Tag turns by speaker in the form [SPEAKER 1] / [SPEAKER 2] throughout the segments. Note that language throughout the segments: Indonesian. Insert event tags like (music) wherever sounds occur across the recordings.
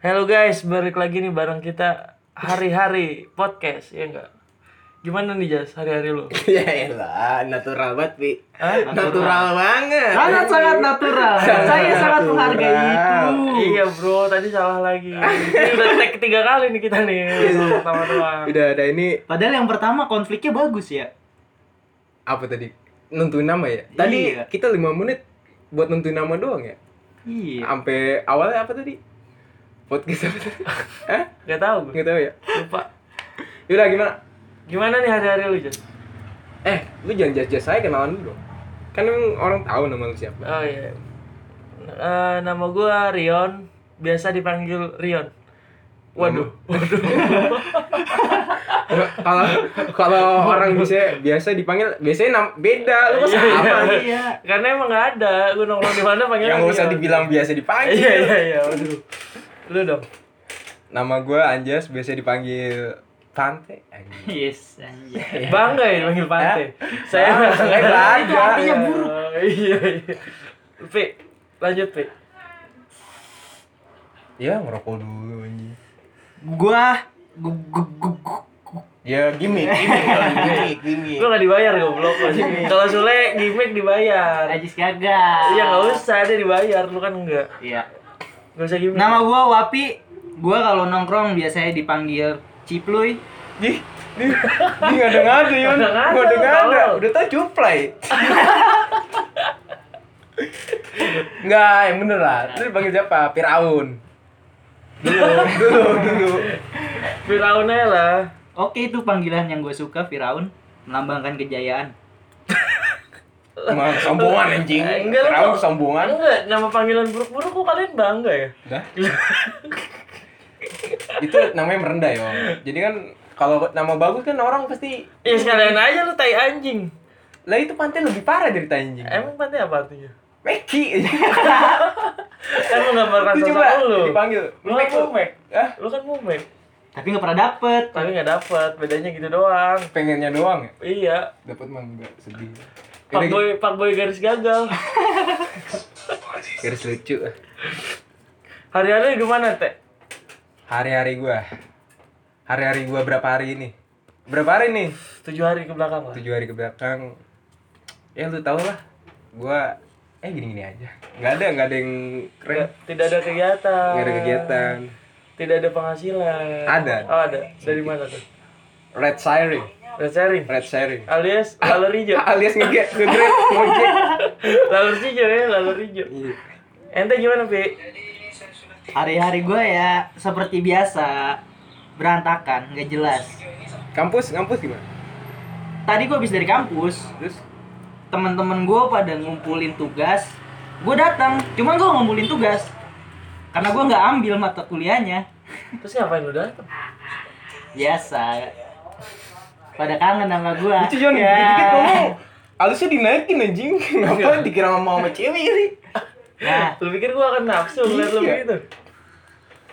[SPEAKER 1] Halo guys, balik lagi nih bareng kita hari-hari podcast, ya enggak? Gimana nih Jas, hari-hari lu?
[SPEAKER 2] (laughs) Ya elah, natural banget, Pi.
[SPEAKER 1] Hah?
[SPEAKER 2] Natural, banget.
[SPEAKER 3] Sangat sangat natural.
[SPEAKER 2] Sangat
[SPEAKER 3] Saya Iya. sangat menghargai
[SPEAKER 2] natural.
[SPEAKER 3] itu.
[SPEAKER 1] Iya bro, tadi salah lagi. Ini udah tag tiga kali nih kita nih, baru
[SPEAKER 2] Iya.
[SPEAKER 1] pertama doang.
[SPEAKER 2] Udah ada ini
[SPEAKER 3] Padahal yang pertama konfliknya bagus ya.
[SPEAKER 2] apa tadi? Nentuin nama ya. Tadi
[SPEAKER 3] Iya.
[SPEAKER 2] kita 5 menit buat nentuin nama doang ya.
[SPEAKER 3] Iya.
[SPEAKER 2] Sampai awalnya apa tadi? Podcast apa tadi? (laughs) Hah?
[SPEAKER 1] Gak tau gue,
[SPEAKER 2] Nggak tahu ya.
[SPEAKER 1] lupa.
[SPEAKER 2] Yaudah gimana?
[SPEAKER 1] Gimana nih hari-hari lu Jas?
[SPEAKER 2] Eh, lu jangan jas-jas saya kenalan dulu dong. Kan emang orang tahu nama lu siapa.
[SPEAKER 1] Oh iya. Eh, nama gua Rion, biasa dipanggil Rion. Waduh, waduh.
[SPEAKER 2] Kalau kalau
[SPEAKER 3] (laughs)
[SPEAKER 2] orang bisa biasa dipanggil biasanya nam- beda. Lu
[SPEAKER 1] (laughs)
[SPEAKER 2] kok
[SPEAKER 3] Iya.
[SPEAKER 2] apa?
[SPEAKER 3] Iya.
[SPEAKER 1] Karena emang gak ada, gua nongkrong di mana panggil
[SPEAKER 2] Yang nggak usah dibilang biasa
[SPEAKER 1] Iya,
[SPEAKER 2] dipanggil.
[SPEAKER 1] iya, iya, waduh. Lu dong.
[SPEAKER 2] Nama gue Anjas, biasa dipanggil Tante. Anjing.
[SPEAKER 3] Yes. anjay.
[SPEAKER 1] Bangga ya panggil pantai. (laughs) Saya
[SPEAKER 2] Bangga, saya bangga.
[SPEAKER 3] Itu artinya buruk.
[SPEAKER 1] Oh, Iya iya. Pi, lanjut Pi.
[SPEAKER 2] Ya ngerokok dulu anjing.
[SPEAKER 3] Gua gu- gu- gu- gu- gu-
[SPEAKER 2] Ya gimmick, gimmick, (laughs) gimmick, gimmick.
[SPEAKER 1] Lu gak dibayar goblok anjing. Kalau Sule gimmick dibayar.
[SPEAKER 3] Najis gagal.
[SPEAKER 1] Iya nggak usah dia dibayar, lu kan enggak.
[SPEAKER 3] Iya.
[SPEAKER 1] Enggak usah gimmick.
[SPEAKER 3] Nama gua Wapi. Gua kalau nongkrong biasanya dipanggil Cipluy.
[SPEAKER 2] Ih, ini ini ada ngada Yun,
[SPEAKER 1] Ngada-ngada,
[SPEAKER 2] ngada ngada,
[SPEAKER 1] tolol.
[SPEAKER 2] udah tau
[SPEAKER 1] (laughs)
[SPEAKER 2] cuplai. Enggak, yang bener lah. Lu dipanggil siapa? Firaun. Dulu, dulu, dulu.
[SPEAKER 1] Firaun aja lah.
[SPEAKER 3] Oke itu panggilan yang gue suka Firaun melambangkan kejayaan.
[SPEAKER 2] Emang sombongan anjing.
[SPEAKER 1] Eh, enggak, lu
[SPEAKER 2] Firaun
[SPEAKER 1] kok-
[SPEAKER 2] sombongan.
[SPEAKER 1] Enggak, nama panggilan buruk-buruk kok kalian bangga ya? (laughs)
[SPEAKER 2] Dah. Itu namanya merendah, Yong. Jadi kan kalau nama bagus kan orang pasti
[SPEAKER 1] Ya sekalian aja lu tai anjing.
[SPEAKER 2] lah itu pantai lebih parah dari tai anjing.
[SPEAKER 1] Emang pantai apa artinya? (laughs) Kan
[SPEAKER 2] Meki.
[SPEAKER 1] Emang gambarkan
[SPEAKER 2] Lu
[SPEAKER 1] sosok
[SPEAKER 2] coba
[SPEAKER 1] lu.
[SPEAKER 2] dipanggil.
[SPEAKER 1] Lu kan mumek.
[SPEAKER 2] Hah?
[SPEAKER 1] Lu kan mumek.
[SPEAKER 3] Tapi nggak pernah dapet.
[SPEAKER 1] Tapi nggak dapat, bedanya gitu doang.
[SPEAKER 2] pengennya doang ya
[SPEAKER 1] Iya,
[SPEAKER 2] dapat mah enggak sedih
[SPEAKER 1] Pak
[SPEAKER 2] Ini
[SPEAKER 1] Boy, Pak Boy garis gagal.
[SPEAKER 2] garis lucu
[SPEAKER 1] Hari-hari gimana, Teh?
[SPEAKER 2] hari-hari gua hari-hari gua berapa hari ini berapa hari nih
[SPEAKER 1] Tujuh hari ke belakang lah.
[SPEAKER 2] tujuh hari ke belakang ya lu tau lah gua eh gini-gini aja nggak ada nggak ada yang keren
[SPEAKER 1] Nggak- Tidak ada kegiatan.
[SPEAKER 2] nggak ada kegiatan
[SPEAKER 1] Tidak ada penghasilan.
[SPEAKER 2] Ada.
[SPEAKER 1] Oh, ada. Dari mana tuh?
[SPEAKER 2] red siring
[SPEAKER 1] Red sharing.
[SPEAKER 2] red siring
[SPEAKER 1] Alias lalur hijau.
[SPEAKER 2] alias ngeget ngegrab (laughs) ngojek
[SPEAKER 1] lalur hijau ya, lalur hijau.
[SPEAKER 2] Iya.
[SPEAKER 1] Ente gimana, Pi?
[SPEAKER 3] Hari-hari gue ya seperti biasa berantakan nggak jelas.
[SPEAKER 2] kampus kampus gimana
[SPEAKER 3] Tadi gue habis dari kampus,
[SPEAKER 2] terus
[SPEAKER 3] teman-teman gue pada ngumpulin tugas gue datang cuman gue ngumpulin tugas karena gue nggak ambil mata kuliahnya
[SPEAKER 1] Terus ngapain lu datang?
[SPEAKER 3] biasa pada kangen sama gue
[SPEAKER 2] lucu Jon
[SPEAKER 3] Ya.
[SPEAKER 2] dikit ngomong alusnya dinaikin (laughs) anjing kenapa dikira mau sama cewek ini
[SPEAKER 3] nah
[SPEAKER 1] Lu pikir gua akan nafsu ngeliat lu
[SPEAKER 2] Iya.
[SPEAKER 1] begitu?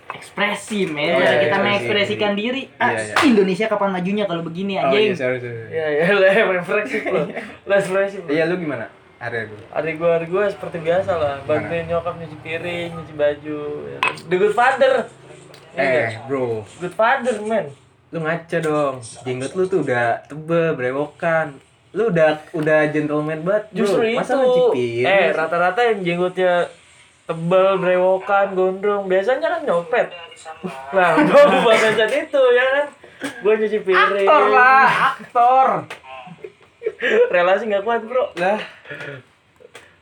[SPEAKER 3] ekspresi
[SPEAKER 2] Oh,
[SPEAKER 3] men Cara
[SPEAKER 2] iya,
[SPEAKER 3] kita
[SPEAKER 2] iya,
[SPEAKER 3] mengekspresikan
[SPEAKER 2] iya.
[SPEAKER 3] diri
[SPEAKER 2] Iya,
[SPEAKER 3] Ah,
[SPEAKER 2] iya.
[SPEAKER 3] Indonesia kapan majunya kalau begini
[SPEAKER 2] oh iya
[SPEAKER 3] anjing
[SPEAKER 2] sorry sorry
[SPEAKER 1] Ya, ya, (laughs) lu emang ekspresif lu. Lu ekspresif lu.
[SPEAKER 2] Iya lu gimana? Hari gue.
[SPEAKER 1] Hari gua, hari gua seperti biasa lah. Bantuin nyokap nyuci piring, nyuci baju. ya kan. The good father. Iya nggak?
[SPEAKER 2] Eh bro,
[SPEAKER 1] Good father, man.
[SPEAKER 2] lu ngaca dong. Jenggot lu tuh udah tebel, berewokan. Lu udah udah gentleman banget. bro.
[SPEAKER 1] Justru itu.
[SPEAKER 2] Masa lu cipir?
[SPEAKER 1] eh, rata-rata yang jenggotnya tebel, brewokan, gondrong, biasanya kan nyopet.
[SPEAKER 2] (laughs)
[SPEAKER 1] Nah, gua bukan saat itu ya kan. Gua nyuci piring.
[SPEAKER 2] aktor lah, aktor.
[SPEAKER 1] Relasi nggak kuat, Bro.
[SPEAKER 2] lah,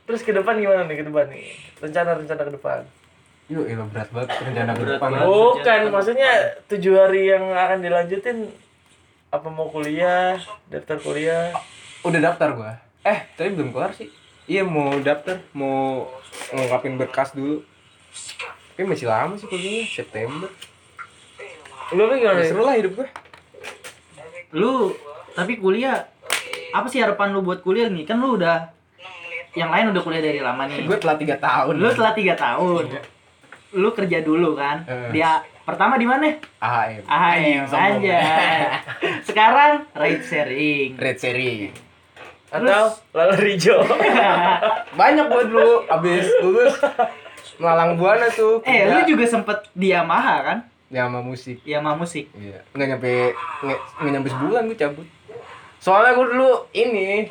[SPEAKER 1] Terus ke depan gimana nih ke depan nih? Rencana-rencana ke depan.
[SPEAKER 2] yuk elah berat banget rencana ke
[SPEAKER 3] Berat
[SPEAKER 2] depan.
[SPEAKER 3] banget.
[SPEAKER 2] Oh.
[SPEAKER 1] Bukan, maksudnya tujuh hari yang akan dilanjutin apa mau kuliah, daftar kuliah.
[SPEAKER 2] Udah daftar gua. Eh, tapi belum keluar sih. Iya mau daftar, mau ngungkapin berkas dulu. Tapi masih lama sih kuliahnya, September.
[SPEAKER 1] Lu Pi, gimana?
[SPEAKER 2] Ya,
[SPEAKER 1] nih?
[SPEAKER 2] seru lah hidup gua.
[SPEAKER 3] lu tapi kuliah apa sih harapan lu buat kuliah nih kan lu udah yang lain udah kuliah dari lama nih
[SPEAKER 2] Gua telat 3 tahun.
[SPEAKER 3] lu telah tiga tahun lu kerja dulu kan
[SPEAKER 2] Eh.
[SPEAKER 3] dia pertama di mana
[SPEAKER 2] AHM.
[SPEAKER 3] AHM
[SPEAKER 2] sombong.
[SPEAKER 3] aja
[SPEAKER 2] (laughs)
[SPEAKER 3] sekarang ride sharing
[SPEAKER 2] Red Series.
[SPEAKER 1] Atau lalu hijau. (laughs)
[SPEAKER 2] (laughs) banyak buat lu abis lulus melalang buana tuh
[SPEAKER 3] (laughs) Eh,
[SPEAKER 2] punya-
[SPEAKER 3] lu juga sempet di Yamaha kan?
[SPEAKER 2] ya sama musik
[SPEAKER 3] Yamaha musik.
[SPEAKER 2] iya nggak nyampe nggak nggak nyampe sebulan gue cabut soalnya gue dulu ini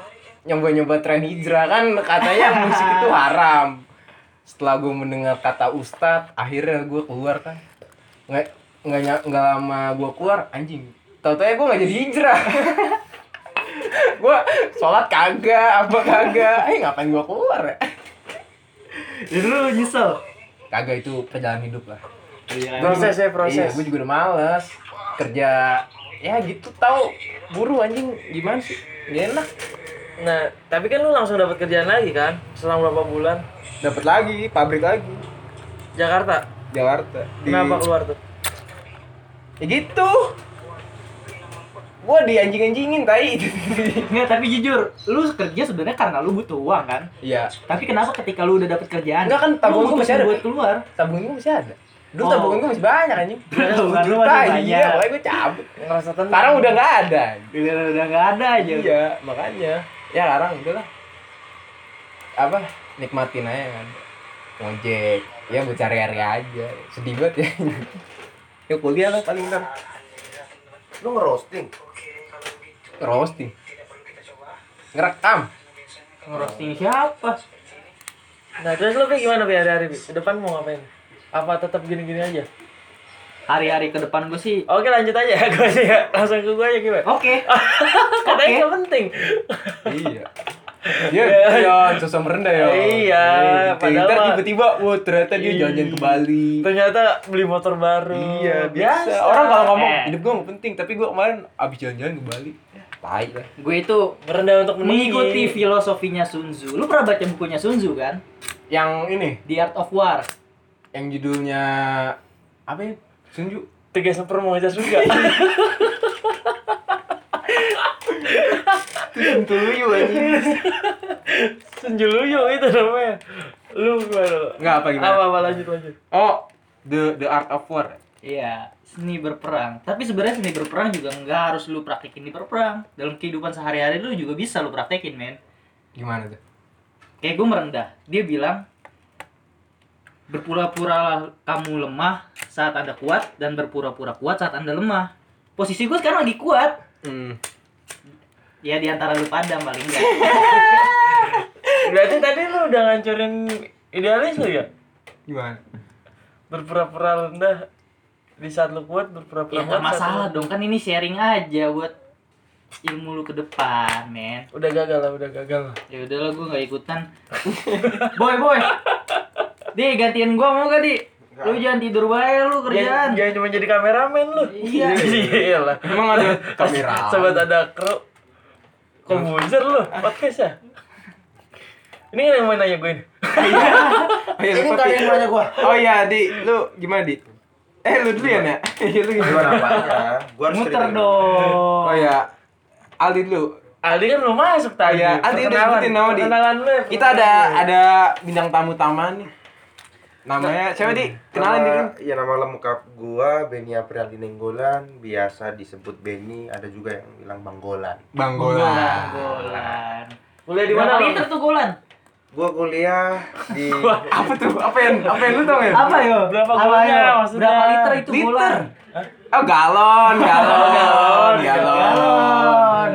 [SPEAKER 2] nyoba nyoba tren hijrah kan katanya musik itu haram setelah gue mendengar kata ustadz akhirnya gue keluar kan nggak nggak nya- nggak lama gue keluar anjing tau tau ya gue nggak jadi hijrah (laughs) gue sholat kagak apa kagak eh ngapain gue keluar ya
[SPEAKER 3] Jadi lu nyesel.
[SPEAKER 2] kagak itu perjalanan hidup lah
[SPEAKER 1] Proses ya, proses.
[SPEAKER 2] Iya, gue juga udah males kerja ya gitu tau buru anjing gimana sih gak enak
[SPEAKER 1] Nah, tapi kan lu langsung dapat kerjaan lagi kan? Selang berapa bulan?
[SPEAKER 2] dapat lagi pabrik lagi
[SPEAKER 1] Jakarta.
[SPEAKER 2] Jakarta Di-
[SPEAKER 1] Kenapa keluar tuh?
[SPEAKER 2] ya gitu gua di anjing anjingin tai
[SPEAKER 3] Nggak, tapi jujur, lu kerja sebenarnya karena lu butuh uang kan?
[SPEAKER 2] iya
[SPEAKER 3] Tapi kenapa ketika lu udah dapet kerjaan?
[SPEAKER 2] Nggak kan,
[SPEAKER 3] lu
[SPEAKER 2] tabungan
[SPEAKER 3] butuh
[SPEAKER 2] gua masih ada.
[SPEAKER 3] buat keluar.
[SPEAKER 2] tabungan gua masih ada dulu
[SPEAKER 3] Oh.
[SPEAKER 2] tabungan gua masih banyak anjing
[SPEAKER 3] Tabungan lu
[SPEAKER 2] Juta,
[SPEAKER 3] masih
[SPEAKER 2] iya,
[SPEAKER 3] banyak.
[SPEAKER 2] makanya gua cabut
[SPEAKER 1] Ngerasa tenang.
[SPEAKER 2] sekarang udah nggak ada
[SPEAKER 3] Giliran udah nggak ada aja.
[SPEAKER 2] iya makanya ya sekarang udahlah apa nikmatin aja kan ngojek ya buat cari-cari aja sedih (laughs) banget ya ya kuliah lah paling ntar
[SPEAKER 4] Lu ngerosting?
[SPEAKER 2] roasting ngerekam
[SPEAKER 3] Ngerosting siapa?
[SPEAKER 1] Nah, terus lu Pi, gimana Pi hari-hari Pi? Ke depan mau ngapain? Apa tetap gini-gini aja?
[SPEAKER 3] Hari-hari ke depan gue sih.
[SPEAKER 1] Oke, lanjut aja. (laughs) Gue sih ya, langsung ke gue aja gimana?
[SPEAKER 3] Oke.
[SPEAKER 2] Oh,
[SPEAKER 1] (laughs) Katanya
[SPEAKER 3] Oke.
[SPEAKER 1] nggak penting.
[SPEAKER 2] iya Iya, iya, sosok merendah ya.
[SPEAKER 1] Iya, padahal
[SPEAKER 2] Ntar
[SPEAKER 1] mah-
[SPEAKER 2] tiba-tiba, wah ternyata dia jalan-jalan ke Bali.
[SPEAKER 1] Ternyata beli motor baru.
[SPEAKER 2] Iya, biasa. Orang kalau ngomong
[SPEAKER 3] Eh.
[SPEAKER 2] hidup gua nggak penting, tapi gua kemarin abis jalan-jalan ke Bali, tai lah.
[SPEAKER 3] Gue itu
[SPEAKER 1] merendah untuk meninggi.
[SPEAKER 3] mengikuti filosofinya Sun Tzu. Lu pernah baca bukunya Sun Tzu kan?
[SPEAKER 2] Yang ini,
[SPEAKER 3] The Art of War.
[SPEAKER 2] yang judulnya apa ya? Sunju.
[SPEAKER 1] tiga super mau aja juga.
[SPEAKER 2] Suntuyu anjing.
[SPEAKER 1] (laughs) Senjuluyo itu namanya. Lu gimana? lu?
[SPEAKER 2] Enggak apa gimana?
[SPEAKER 1] Apa apa lanjut lanjut.
[SPEAKER 2] Oh, the the art of war.
[SPEAKER 3] Iya, seni berperang. Tapi sebenarnya seni berperang juga nggak harus lu praktekin di berperang. Dalam kehidupan sehari-hari lu juga bisa lu praktekin, men.
[SPEAKER 2] Gimana tuh?
[SPEAKER 3] Kayak gue merendah. Dia bilang berpura-pura kamu lemah saat anda kuat dan berpura-pura kuat saat anda lemah. Posisi gue sekarang lagi kuat.
[SPEAKER 2] Hmm.
[SPEAKER 3] Ya di antara lu padam paling enggak.
[SPEAKER 1] Berarti tadi lu udah ngancurin idealis lu ya?
[SPEAKER 2] Gimana?
[SPEAKER 1] Berpura-pura rendah di saat lu kuat berpura-pura
[SPEAKER 3] ya
[SPEAKER 2] Iya,
[SPEAKER 1] kuat.
[SPEAKER 3] nggak
[SPEAKER 1] saat lu-
[SPEAKER 3] masalah dong kan ini sharing aja buat ilmu lu ke depan, men.
[SPEAKER 1] Udah gagal lah, udah gagal lah.
[SPEAKER 3] Ya udahlah gue nggak ikutan. (laughs) boy, boy. Di gantiin gua mau gak, Di? Lu jangan tidur bae lu kerjaan.
[SPEAKER 1] Jangan, jangan cuma jadi kameramen lu. (laughs)
[SPEAKER 3] Iya.
[SPEAKER 1] Iya lah.
[SPEAKER 2] Emang
[SPEAKER 1] (laughs)
[SPEAKER 2] ada kamera.
[SPEAKER 1] Sobat ada kru. Komposer lu, podcast ya? Ini kan yang mau nanya gue ini.
[SPEAKER 2] Ayo,
[SPEAKER 4] Ini
[SPEAKER 2] Pati.
[SPEAKER 4] kalian nanya gua.
[SPEAKER 2] Oh iya, Di, lu gimana, Di? Eh, lu dulu ya, Nak? Iya, lu
[SPEAKER 4] Gimana
[SPEAKER 2] gimana?
[SPEAKER 4] apanya? Gua harus
[SPEAKER 3] Muter
[SPEAKER 4] ceritain.
[SPEAKER 3] dong.
[SPEAKER 2] Oh ya, Aldi dulu.
[SPEAKER 1] Aldi kan belum masuk tadi.
[SPEAKER 2] Iya, Aldi udah
[SPEAKER 1] Perkenalan.
[SPEAKER 2] sebutin nama, Di.
[SPEAKER 1] Perkenalan lu. ya,
[SPEAKER 2] Kita ada ada bintang tamu utama nih. Namanya siapa, Di? Kenalan
[SPEAKER 4] Nama-
[SPEAKER 2] dulu.
[SPEAKER 4] Ya nama lengkap gua Benny April Nenggolan, biasa disebut Benny, ada juga yang bilang Banggolan.
[SPEAKER 2] Bang
[SPEAKER 3] Golan,
[SPEAKER 2] Gola.
[SPEAKER 3] golan.
[SPEAKER 1] Kuliah di
[SPEAKER 3] Berapa
[SPEAKER 1] mana? Bang?
[SPEAKER 3] liter tuh golan?
[SPEAKER 4] Gua kuliah di
[SPEAKER 2] (laughs) Apa tuh? Apa yang apa yang lu tau ya?
[SPEAKER 3] Apa yo?
[SPEAKER 1] Berapa
[SPEAKER 3] Apa
[SPEAKER 1] golnya
[SPEAKER 3] yo?
[SPEAKER 1] maksudnya?
[SPEAKER 3] Berapa liter itu
[SPEAKER 2] Liter.
[SPEAKER 3] golan?
[SPEAKER 2] Oh, galon, galon, galon.
[SPEAKER 3] Galon.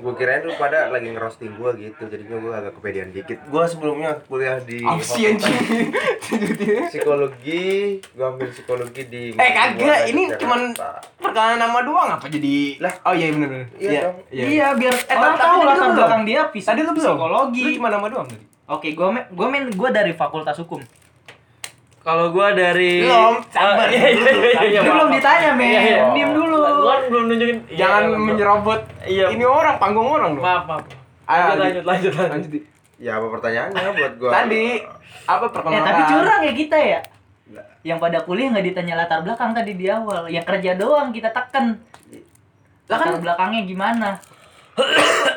[SPEAKER 4] gua kirain lu pada lagi ngerosting gua gitu, jadinya gua agak kepedean dikit. Gua sebelumnya kuliah di
[SPEAKER 2] Apa sih anjing?
[SPEAKER 4] Fakultas
[SPEAKER 3] (laughs)
[SPEAKER 4] psikologi, gua ambil psikologi di
[SPEAKER 2] Eh kagak,
[SPEAKER 4] Gua
[SPEAKER 2] ini
[SPEAKER 4] ada di
[SPEAKER 2] cuman
[SPEAKER 4] Jakarta.
[SPEAKER 2] perkenalan nama doang apa jadi
[SPEAKER 4] Lah.
[SPEAKER 2] Oh iya benar benar.
[SPEAKER 4] Iya dong.
[SPEAKER 3] Iya, biar eh,
[SPEAKER 2] Oh,
[SPEAKER 3] orang
[SPEAKER 2] tapi
[SPEAKER 3] tahu
[SPEAKER 2] tadi lu
[SPEAKER 3] latar
[SPEAKER 2] belum.
[SPEAKER 3] belakang dia pis-
[SPEAKER 2] Tadi lu belum?
[SPEAKER 3] psikologi.
[SPEAKER 2] Lu cuma nama doang tadi.
[SPEAKER 3] Oke, gua men gua men gua dari Fakultas Hukum.
[SPEAKER 1] Kalau gua dari
[SPEAKER 2] Belum,
[SPEAKER 1] sabar. Iya, iya, iya, iya,
[SPEAKER 3] belum
[SPEAKER 1] maaf.
[SPEAKER 3] ditanya, men.
[SPEAKER 1] Iya, iya.
[SPEAKER 3] Diam dulu.
[SPEAKER 1] Gua kan belum nunjukin. Iya,
[SPEAKER 2] Jangan
[SPEAKER 1] iya,
[SPEAKER 2] menyerobot
[SPEAKER 1] Iya.
[SPEAKER 2] ini orang, panggung orang dong.
[SPEAKER 1] Maaf, maaf. Lanjut,
[SPEAKER 2] Ayo, Aldi.
[SPEAKER 1] lanjut, lanjut, lanjut.
[SPEAKER 2] Lanjut, Di.
[SPEAKER 4] Ya apa pertanyaannya buat gua?
[SPEAKER 2] Tadi apa
[SPEAKER 3] Eh,
[SPEAKER 2] perkenalan?
[SPEAKER 3] tapi curang ya kita ya. Yang pada kuliah nggak ditanya latar belakang tadi di awal, yang kerja doang kita kan tekan. Latar belakangnya gimana?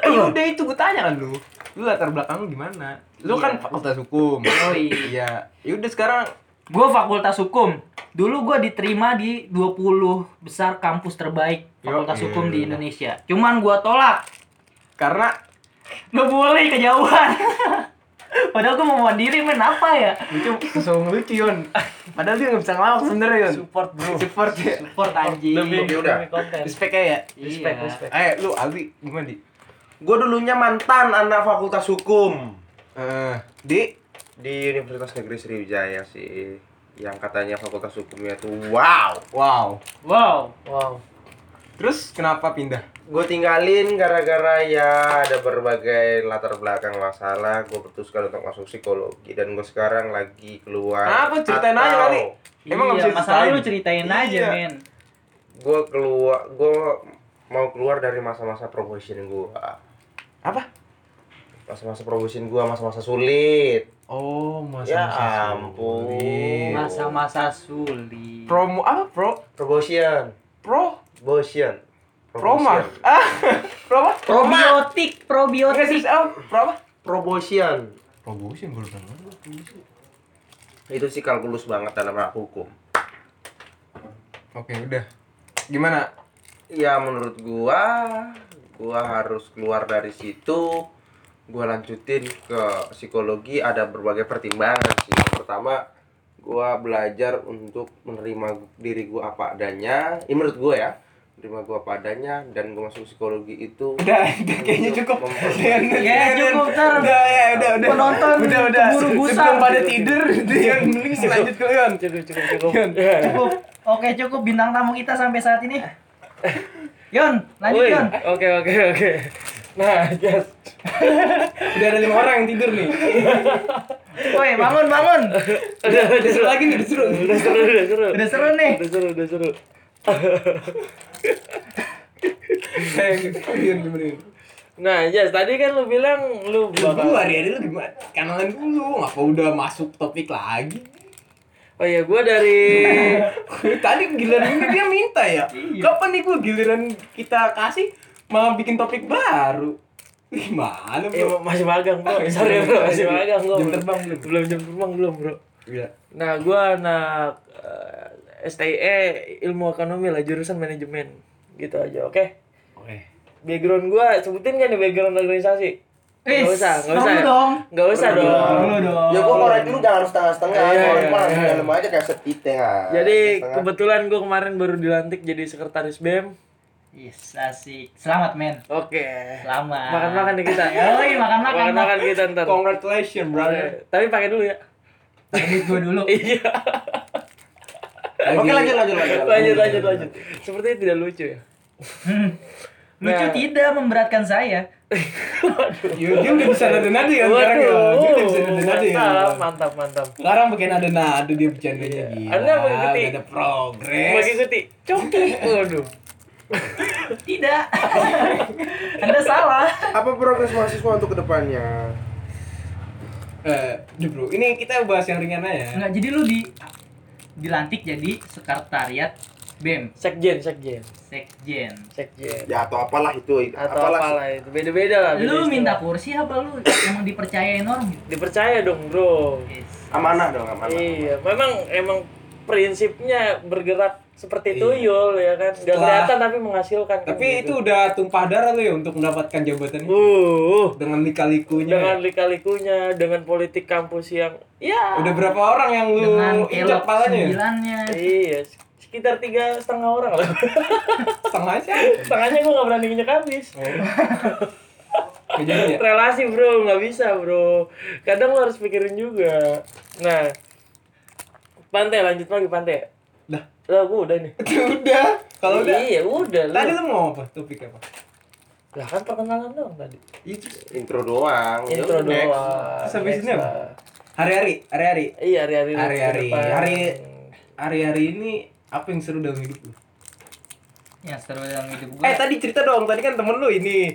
[SPEAKER 2] Ya udah itu gue tanya kan lu. Lu latar belakang lu gimana? Lu kan fakultas hukum.
[SPEAKER 3] Iya. Oh, iya.
[SPEAKER 2] iya. Ya udah sekarang
[SPEAKER 3] Gue fakultas hukum. Dulu gue diterima di 20 besar kampus terbaik fakultas
[SPEAKER 2] Yo,
[SPEAKER 3] hukum
[SPEAKER 2] iya.
[SPEAKER 3] di Indonesia. Cuman gue tolak.
[SPEAKER 2] karena
[SPEAKER 3] Ngebully kejauhan. (laughs) Padahal gue mau mandiri men apa ya?
[SPEAKER 2] Lucu, sosok lucu Yon Padahal dia nggak bisa ngelawak sebenernya Yon
[SPEAKER 1] Support bro.
[SPEAKER 2] Support ya
[SPEAKER 3] Support anjing.
[SPEAKER 1] Demi
[SPEAKER 4] Ya udah.
[SPEAKER 1] demi konten.
[SPEAKER 2] Respect aja ya
[SPEAKER 1] Respect,
[SPEAKER 3] Iya.
[SPEAKER 1] respect.
[SPEAKER 2] Eh lu Aldi gimana Di?
[SPEAKER 4] Gue dulunya mantan anak fakultas hukum
[SPEAKER 2] Eh, di
[SPEAKER 4] di Universitas Negeri Sriwijaya sih. Yang katanya fakultas hukumnya tuh wow.
[SPEAKER 2] Wow
[SPEAKER 3] Wow.
[SPEAKER 1] Wow.
[SPEAKER 2] Terus kenapa pindah?
[SPEAKER 4] Gue tinggalin gara-gara ya ada berbagai latar belakang masalah. Gue putuskan untuk masuk psikologi dan gue sekarang lagi keluar.
[SPEAKER 2] Ah, Apa? Ceritain aja kali. Emang nggak
[SPEAKER 3] iya,
[SPEAKER 2] bisa
[SPEAKER 3] masalah
[SPEAKER 2] diceritain?
[SPEAKER 3] lu ceritain aja
[SPEAKER 2] Iya.
[SPEAKER 3] men.
[SPEAKER 4] Gue keluar, gue mau keluar dari masa-masa promotion gue.
[SPEAKER 2] Apa?
[SPEAKER 4] Masa-masa promotion gue, masa-masa sulit.
[SPEAKER 2] Oh, masa
[SPEAKER 4] Ya ampun.
[SPEAKER 3] Masa-masa sulit.
[SPEAKER 2] Promo apa? Pro
[SPEAKER 4] Promotion,
[SPEAKER 2] pro
[SPEAKER 4] motion.
[SPEAKER 2] Proma. (laughs) Ah, Proma.
[SPEAKER 3] probiotik,
[SPEAKER 2] Enggak
[SPEAKER 3] probiotik.
[SPEAKER 2] sih, oh, Proma.
[SPEAKER 4] Promotion.
[SPEAKER 2] Promotion belum pernah.
[SPEAKER 4] Itu sih kalkulus banget dalam hak hukum.
[SPEAKER 2] Oke, udah. Gimana?
[SPEAKER 4] Ya menurut gua, gua harus keluar dari situ. Gua lanjutin ke psikologi ada berbagai pertimbangan sih. Yang Pertama, gua belajar untuk menerima diri gua apa adanya. Ini menurut gua ya, menerima gua apa adanya dan gua masuk psikologi itu
[SPEAKER 2] Udah, udah kayaknya cukup. Dian,
[SPEAKER 4] Memperbaiki.
[SPEAKER 3] Ya,
[SPEAKER 2] Dian,
[SPEAKER 3] cukup,
[SPEAKER 2] Dian.
[SPEAKER 3] ntar.
[SPEAKER 2] Udah, ya, udah, udah.
[SPEAKER 3] Penonton
[SPEAKER 2] udah, udah.
[SPEAKER 3] keburu gusar.
[SPEAKER 2] Sebelum pada tidur, (laughs) Dian, mending sih lanjut ke Dian.
[SPEAKER 3] Iya.
[SPEAKER 1] Cukup cukup cukup.
[SPEAKER 2] Dian.
[SPEAKER 3] Cukup. Oke, cukup bintang tamu kita sampai saat ini. Yon, lanjut
[SPEAKER 1] Woi,
[SPEAKER 3] Yon.
[SPEAKER 1] Oke oke oke. Nah, yes.
[SPEAKER 2] Udah ada lima orang yang tidur nih.
[SPEAKER 3] Woi, bangun, bangun.
[SPEAKER 1] Udah udah
[SPEAKER 2] Disuruh
[SPEAKER 1] seru.
[SPEAKER 2] lagi nih, disuruh.
[SPEAKER 1] Udah seru udah seru.
[SPEAKER 3] Udah seru nih.
[SPEAKER 1] Udah seru udah seru.
[SPEAKER 2] Eh, Dian, gimana? Dian?
[SPEAKER 1] Nah, yes, tadi kan lu bilang lu
[SPEAKER 2] Lu
[SPEAKER 1] bakal
[SPEAKER 2] hari ini lu gimana? Kenalan dulu, ngapa udah masuk topik lagi?
[SPEAKER 1] Oh iya, gua dari (laughs)
[SPEAKER 2] Tadi giliran ini dia minta ya. Kapan nih gua giliran kita kasih malah bikin topik baru? Gimana
[SPEAKER 1] Eh,
[SPEAKER 2] bro?
[SPEAKER 1] masih magang, Bro. Sorry, Bro. Masih magang gua.
[SPEAKER 2] Jam
[SPEAKER 1] Belum-
[SPEAKER 2] terbang belum?
[SPEAKER 1] Belum jam terbang belum, Bro.
[SPEAKER 2] Iya.
[SPEAKER 1] Nah, gua anak eh, STIE Ilmu Ekonomi lah, jurusan manajemen. Gitu aja, oke?
[SPEAKER 2] Oke.
[SPEAKER 1] Background gua sebutin kan nih background organisasi. Nggak
[SPEAKER 3] Wis,
[SPEAKER 1] usah, nggak usah.
[SPEAKER 3] perlu
[SPEAKER 1] ya?
[SPEAKER 3] dong.
[SPEAKER 1] Nggak usah
[SPEAKER 4] Perlu
[SPEAKER 1] dong.
[SPEAKER 4] dong.
[SPEAKER 3] Lu dong.
[SPEAKER 4] Ya gua korek dulu jangan harus setengah-setengah,
[SPEAKER 1] Iya,
[SPEAKER 4] yeah,
[SPEAKER 1] iya,
[SPEAKER 4] yeah, harus
[SPEAKER 1] iya.
[SPEAKER 4] dalam aja kayak setiteng ah.
[SPEAKER 1] Jadi
[SPEAKER 4] Setengah.
[SPEAKER 1] kebetulan gua kemarin baru dilantik jadi sekretaris BEM.
[SPEAKER 3] Yes, asik. Selamat men.
[SPEAKER 1] Oke.
[SPEAKER 3] Selamat.
[SPEAKER 1] Makan-makan nih kita.
[SPEAKER 3] Yoi, makan-makan.
[SPEAKER 1] Makan-makan kita ntar.
[SPEAKER 2] Congratulations
[SPEAKER 1] Oke,
[SPEAKER 2] brother.
[SPEAKER 1] Tapi pakai dulu ya.
[SPEAKER 3] Ini gua dulu.
[SPEAKER 1] Iya.
[SPEAKER 4] Oke lanjut lanjut lanjut.
[SPEAKER 1] lanjut lanjut lanjut. Sepertinya tidak lucu ya.
[SPEAKER 3] Hmm. Lucu
[SPEAKER 1] Nah.
[SPEAKER 3] tidak memberatkan saya.
[SPEAKER 2] Yo, dia udah bisa nada-nada ya
[SPEAKER 3] Iya,
[SPEAKER 2] sekarang ya. Dia udah bisa nada-nada ya.
[SPEAKER 1] mantap, mantap, mantap.
[SPEAKER 2] Sekarang bagian nada-nada dia bercandanya gila.
[SPEAKER 1] Anda mengikuti.
[SPEAKER 2] Udah Ada progres.
[SPEAKER 1] Mengikuti coki. Waduh.
[SPEAKER 3] Tidak. Anda salah.
[SPEAKER 4] Apa progres mahasiswa untuk kedepannya?
[SPEAKER 2] Eh, udah, bro. Ini kita bahas yang ringan aja.
[SPEAKER 1] Nah,
[SPEAKER 3] Enggak, jadi lu di dilantik jadi sekretariat BEM
[SPEAKER 1] Sekjen, sekjen,
[SPEAKER 3] Sekjen.
[SPEAKER 1] sekjen.
[SPEAKER 4] Ya atau apalah itu,
[SPEAKER 1] Atau apalah itu. Beda-beda lah. beda
[SPEAKER 3] Lu
[SPEAKER 1] istilah.
[SPEAKER 3] minta kursi apa lu emang dipercayain orang?
[SPEAKER 1] dipercaya dong, Bro.
[SPEAKER 3] Yes.
[SPEAKER 4] Amanah dong amanah.
[SPEAKER 1] Iya, memang emang prinsipnya bergerak seperti tuyul ya kan. Gak
[SPEAKER 2] Iya. Setelah-
[SPEAKER 1] kelihatan tapi menghasilkan. kan
[SPEAKER 2] Tapi itu
[SPEAKER 1] gitu.
[SPEAKER 2] udah tumpah darah lo ya untuk mendapatkan jabatan ini.
[SPEAKER 1] uh,
[SPEAKER 2] dengan lika-likunya
[SPEAKER 1] dengan lika-likunya, dengan politik kampus
[SPEAKER 3] (laughs)
[SPEAKER 1] yang ya
[SPEAKER 2] Iya. udah berapa orang yang lu
[SPEAKER 3] Dengan
[SPEAKER 2] Oh, injak ya?
[SPEAKER 3] elok
[SPEAKER 2] (laughs) palanya
[SPEAKER 3] sembilannya.
[SPEAKER 1] iya sekitar tiga setengah orang lah. (laughs)
[SPEAKER 2] setengah aja
[SPEAKER 1] Setengahnya gue gak berani nginjek habis.
[SPEAKER 2] kejadian ya
[SPEAKER 1] relasi bro nggak bisa bro kadang lo harus pikirin juga nah pantai lanjut lagi pantai
[SPEAKER 2] (laughs) Dah.
[SPEAKER 1] lah gua udah nih
[SPEAKER 2] udah kalau udah
[SPEAKER 1] iya udah
[SPEAKER 2] tadi
[SPEAKER 1] lu
[SPEAKER 2] lu mau apa topik apa
[SPEAKER 1] lah kan perkenalan dong tadi
[SPEAKER 2] itu
[SPEAKER 4] Intro doang.
[SPEAKER 1] intro
[SPEAKER 4] Oh, Yaudah, next.
[SPEAKER 1] doang
[SPEAKER 2] Terus habis
[SPEAKER 1] Next
[SPEAKER 2] ini apa?
[SPEAKER 1] lah.
[SPEAKER 2] hari-hari hari-hari
[SPEAKER 1] iya hari-hari ke
[SPEAKER 2] Hari-hari.
[SPEAKER 1] depan.
[SPEAKER 2] Hari- hari-hari ini apa yang seru dalam hidup lu
[SPEAKER 3] Ya seru dalam hidup
[SPEAKER 2] eh
[SPEAKER 3] gua.
[SPEAKER 2] tadi cerita dong tadi kan temen lu ini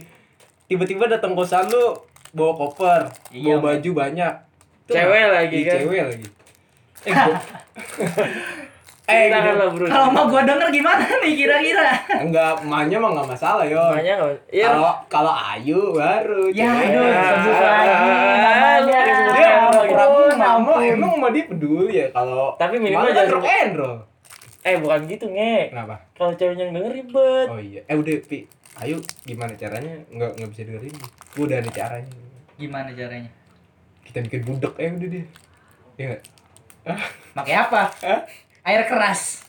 [SPEAKER 2] tiba-tiba datang kosan lu bawa koper
[SPEAKER 3] Iya,
[SPEAKER 2] bawa baju banyak Itu
[SPEAKER 1] Cewek
[SPEAKER 2] apa?
[SPEAKER 1] lagi,
[SPEAKER 2] Iya,
[SPEAKER 1] kan?
[SPEAKER 2] cewek lagi
[SPEAKER 1] (laughs)
[SPEAKER 2] eh gua- eh
[SPEAKER 1] Ceritakan
[SPEAKER 2] gua-
[SPEAKER 1] lah kan bro
[SPEAKER 3] Kalau mau gua denger gimana nih kira-kira?
[SPEAKER 2] enggak emaknya mah enggak masalah yo
[SPEAKER 1] namanya nggak iya
[SPEAKER 2] Kalau kalau Ayu baru.
[SPEAKER 3] Ya,
[SPEAKER 2] cewek.
[SPEAKER 3] aduh, sebut lagi
[SPEAKER 1] Ah,
[SPEAKER 3] namanya.
[SPEAKER 2] Dia
[SPEAKER 1] Ya,
[SPEAKER 2] sama
[SPEAKER 1] ampun,
[SPEAKER 2] pramu mama
[SPEAKER 3] ampun.
[SPEAKER 2] emang sama dia peduli ya kalau
[SPEAKER 1] Tapi minimal
[SPEAKER 2] Mama kan
[SPEAKER 1] jangan-
[SPEAKER 2] rock and roll.
[SPEAKER 1] eh bukan gitu nge
[SPEAKER 2] Kenapa?
[SPEAKER 1] kalau ceweknya yang denger ribet
[SPEAKER 2] Oh iya. Eh udah Pi. Ayu gimana caranya? Enggak enggak bisa dengerin. Gua udah ada caranya.
[SPEAKER 3] Gimana caranya?
[SPEAKER 2] kita bikin budek ya udah deh ya nggak?
[SPEAKER 3] Pakai apa? Air keras.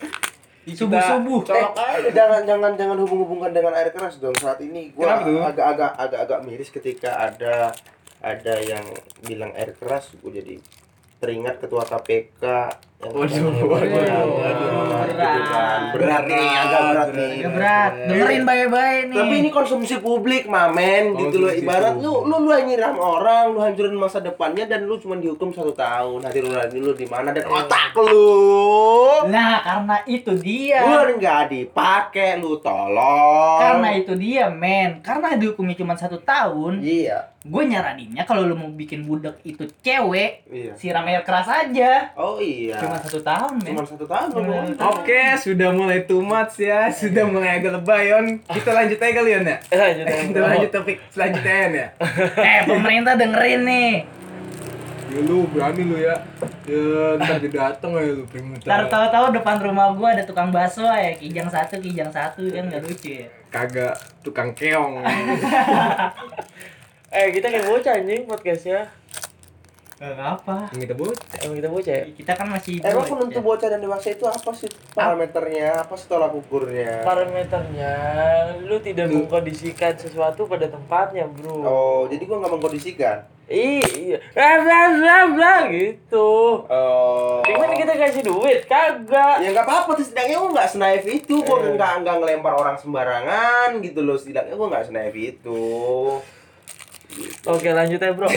[SPEAKER 2] Kita
[SPEAKER 3] Subuh-subuh.
[SPEAKER 2] colok aja.
[SPEAKER 4] jangan jangan jangan hubung-hubungkan dengan air keras dong saat ini gua
[SPEAKER 2] Kenapa tuh?
[SPEAKER 4] agak-agak agak-agak miris ketika ada ada yang bilang air keras gua jadi teringat ketua KPK yang
[SPEAKER 2] Waduh,
[SPEAKER 4] katanya-
[SPEAKER 2] waduh,
[SPEAKER 3] waduh.
[SPEAKER 4] gitu kan. berat nih agak berat nih
[SPEAKER 3] Agak Ya, berat. Dengerin baik-baik nih.
[SPEAKER 4] tapi ini konsumsi publik mamen gitu loh
[SPEAKER 2] Konsumsi
[SPEAKER 4] ibarat
[SPEAKER 2] publik.
[SPEAKER 4] lu lu lu yang nyiram orang lu hancurin masa depannya dan lu cuma dihukum satu tahun hati nurani lu di mana dan otak lu
[SPEAKER 3] Nah, karena itu dia.
[SPEAKER 4] lu nggak dipakai lu tolong
[SPEAKER 3] Iya. Karena itu dia, men. Karena dihukumnya cuma satu tahun,
[SPEAKER 4] iya
[SPEAKER 3] gue nyaraninnya kalau lu mau bikin budak itu cewek,
[SPEAKER 4] iya
[SPEAKER 3] siram air keras aja.
[SPEAKER 4] oh iya
[SPEAKER 3] Cuma satu tahun, men.
[SPEAKER 4] cuma satu tahun lu
[SPEAKER 3] Cuma-
[SPEAKER 4] ngomong.
[SPEAKER 2] Oke, sudah mulai too much ya, sudah mulai agak lebay Yon. Kita lanjut aja kali Yon ya.
[SPEAKER 1] Lanjut,
[SPEAKER 4] Eh,
[SPEAKER 2] (laughs)
[SPEAKER 4] oh.
[SPEAKER 2] Kita (laughs) lanjut topik selanjutnya Yon ya.
[SPEAKER 3] eh, pemerintah dengerin nih.
[SPEAKER 2] Ya lu berani lu ya. Ya ntar dia dateng ya lu
[SPEAKER 3] Ntar
[SPEAKER 2] primuter.
[SPEAKER 3] tahu-tahu depan rumah gue ada tukang bakso ya, kijang satu, kijang satu, kan nggak lucu ya.
[SPEAKER 2] Kagak tukang (laughs) keong.
[SPEAKER 1] Eh, kita kayak bocah anjing podcastnya.
[SPEAKER 3] Gak apa.
[SPEAKER 2] Yang kita buat.
[SPEAKER 1] Emang kita bocah ya?
[SPEAKER 3] Kita kan masih
[SPEAKER 4] Eh, Emang
[SPEAKER 3] bocah.
[SPEAKER 4] penentu bocah dan dewasa itu apa sih parameternya? Apa sih tolak ukurnya?
[SPEAKER 1] Parameternya, lu tidak mengkondisikan sesuatu pada tempatnya, bro.
[SPEAKER 4] Oh, jadi gua nggak mengkondisikan.
[SPEAKER 1] Ih, iya. Bla bla bla bla gitu.
[SPEAKER 4] Oh.
[SPEAKER 1] Gimana kita kasih duit? Kagak.
[SPEAKER 4] ya nggak apa-apa tuh setidaknya gue nggak senaif itu gue
[SPEAKER 1] Eh.
[SPEAKER 4] nggak nggak ngelempar orang sembarangan gitu loh setidaknya gue nggak senaif itu
[SPEAKER 1] Oke, lanjut ya, bro.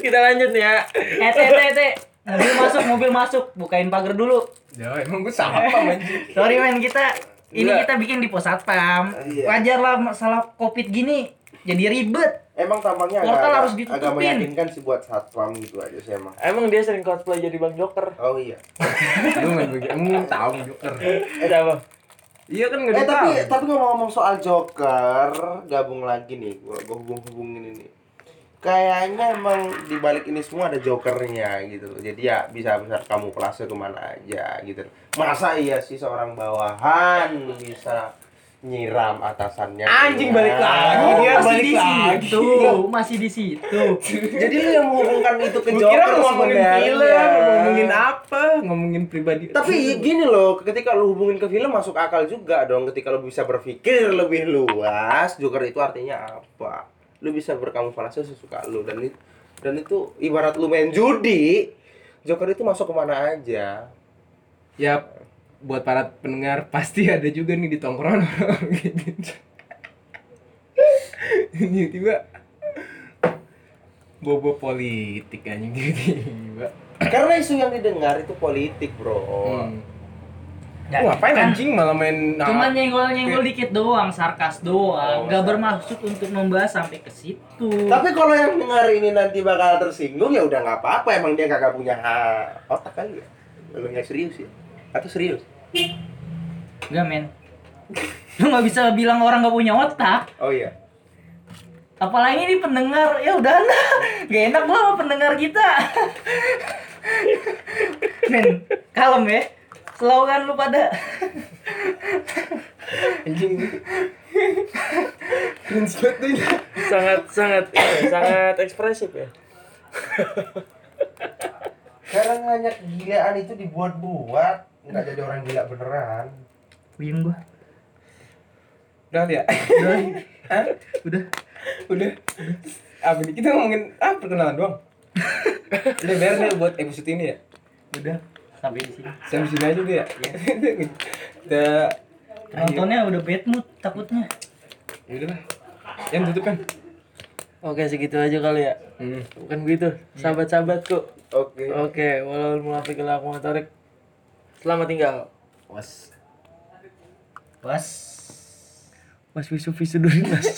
[SPEAKER 1] kita lanjut nih ya.
[SPEAKER 3] Eh, teh, teh, teh. Mobil masuk, mobil masuk. Bukain pagar dulu.
[SPEAKER 2] Ya emang gue sampah anjing.
[SPEAKER 3] Sorry men kita ini
[SPEAKER 1] Gila.
[SPEAKER 3] kita bikin di pos satpam.
[SPEAKER 4] Iya.
[SPEAKER 3] Wajar lah masalah covid gini jadi ribet.
[SPEAKER 4] emang tampangnya agak
[SPEAKER 3] Portal
[SPEAKER 4] agak,
[SPEAKER 3] harus ditutupin.
[SPEAKER 4] agak meyakinkan sih buat satpam gitu aja sih emang
[SPEAKER 1] Emang dia sering cosplay jadi Bang Joker.
[SPEAKER 4] oh iya
[SPEAKER 2] Lu main begitu. Emang tahu Joker.
[SPEAKER 1] Ada apa?
[SPEAKER 2] Iya kan
[SPEAKER 4] eh
[SPEAKER 2] enggak tahu.
[SPEAKER 4] tapi tapi ngomong-ngomong soal joker gabung lagi nih gue gue hubung hubungin ini kayaknya emang di balik ini semua ada jokernya gitu loh jadi ya bisa besar kamu kelasnya kemana aja gitu loh. masa iya sih seorang bawahan bisa nyiram atasannya
[SPEAKER 2] Anjing, balik lagi.
[SPEAKER 4] Oh,
[SPEAKER 2] Dia
[SPEAKER 3] masih
[SPEAKER 2] balik
[SPEAKER 3] di
[SPEAKER 2] lagi.
[SPEAKER 3] situ, masih di situ.
[SPEAKER 4] Jadi lu yang menghubungkan itu ke
[SPEAKER 2] Gue
[SPEAKER 4] Joker
[SPEAKER 2] kira ngomongin
[SPEAKER 4] sebenarnya.
[SPEAKER 2] film, ngomongin apa, ngomongin pribadi. Iya.
[SPEAKER 4] Tapi gini loh, ketika lu hubungin ke film masuk akal juga dong. Ketika lu bisa berpikir lebih luas, Joker itu artinya apa? Lu bisa berkamuflase sesuka lu dan itu dan itu ibarat lu main judi, Joker itu masuk kemana aja.
[SPEAKER 2] ya buat para pendengar (laughs) pasti ada juga nih di tongkrongan orang kayak gitu. Ini tiba bobo politik anjing tiba-tiba.
[SPEAKER 4] Karena isu yang didengar itu politik, Bro.
[SPEAKER 2] Hmm. Lu ngapain
[SPEAKER 3] kan?
[SPEAKER 2] anjing malah main nah,
[SPEAKER 3] Cuma nyenggol-nyenggol dikit doang, sarkas doang. Gak bermaksud untuk membahas sampai ke situ.
[SPEAKER 4] Oh, Tapi kalau yang dengar ini nanti bakal tersinggung ya udah nggak apa-apa emang dia kagak punya ha- otak kali ya. Lu nggak serius ya? Atau serius?
[SPEAKER 3] Gak men. (laughs) Lu gak bisa bilang orang gak punya otak.
[SPEAKER 4] Oh iya.
[SPEAKER 3] Apalagi ini pendengar, ya udah (laughs) lah. Gak enak gua sama pendengar kita. (laughs) men, kalem ya. Slogan lu pada. (laughs)
[SPEAKER 2] (laughs) anjing. Cringe banget tuh ini.
[SPEAKER 1] Sangat sangat eh, sangat ekspresif ya.
[SPEAKER 4] Sekarang hanya kegilaan itu dibuat-buat, nggak jadi orang gila beneran.
[SPEAKER 3] Puyeng gua.
[SPEAKER 2] Udah kali ya. (laughs)
[SPEAKER 3] Udah. Udah.
[SPEAKER 2] Udah. Apa nih? Kita ngomongin ah perkenalan doang. (laughs) Udah biar deh buat episode ini ya.
[SPEAKER 3] Udah. Sampai di sini.
[SPEAKER 2] Sampai sini aja deh ya. (laughs) Kita
[SPEAKER 3] Penontonnya udah bad mood takutnya.
[SPEAKER 2] ya udah lah. Yang tutup kan.
[SPEAKER 1] Oke, segitu aja kali ya.
[SPEAKER 2] Hmm. Oh,
[SPEAKER 1] Bukan begitu, sahabat-sahabatku.
[SPEAKER 4] Oke.
[SPEAKER 1] Oke, walau munafiq ila tarik. Selamat tinggal.
[SPEAKER 2] Was.
[SPEAKER 3] Bas.
[SPEAKER 1] Mas Wisu Wisu Durinas.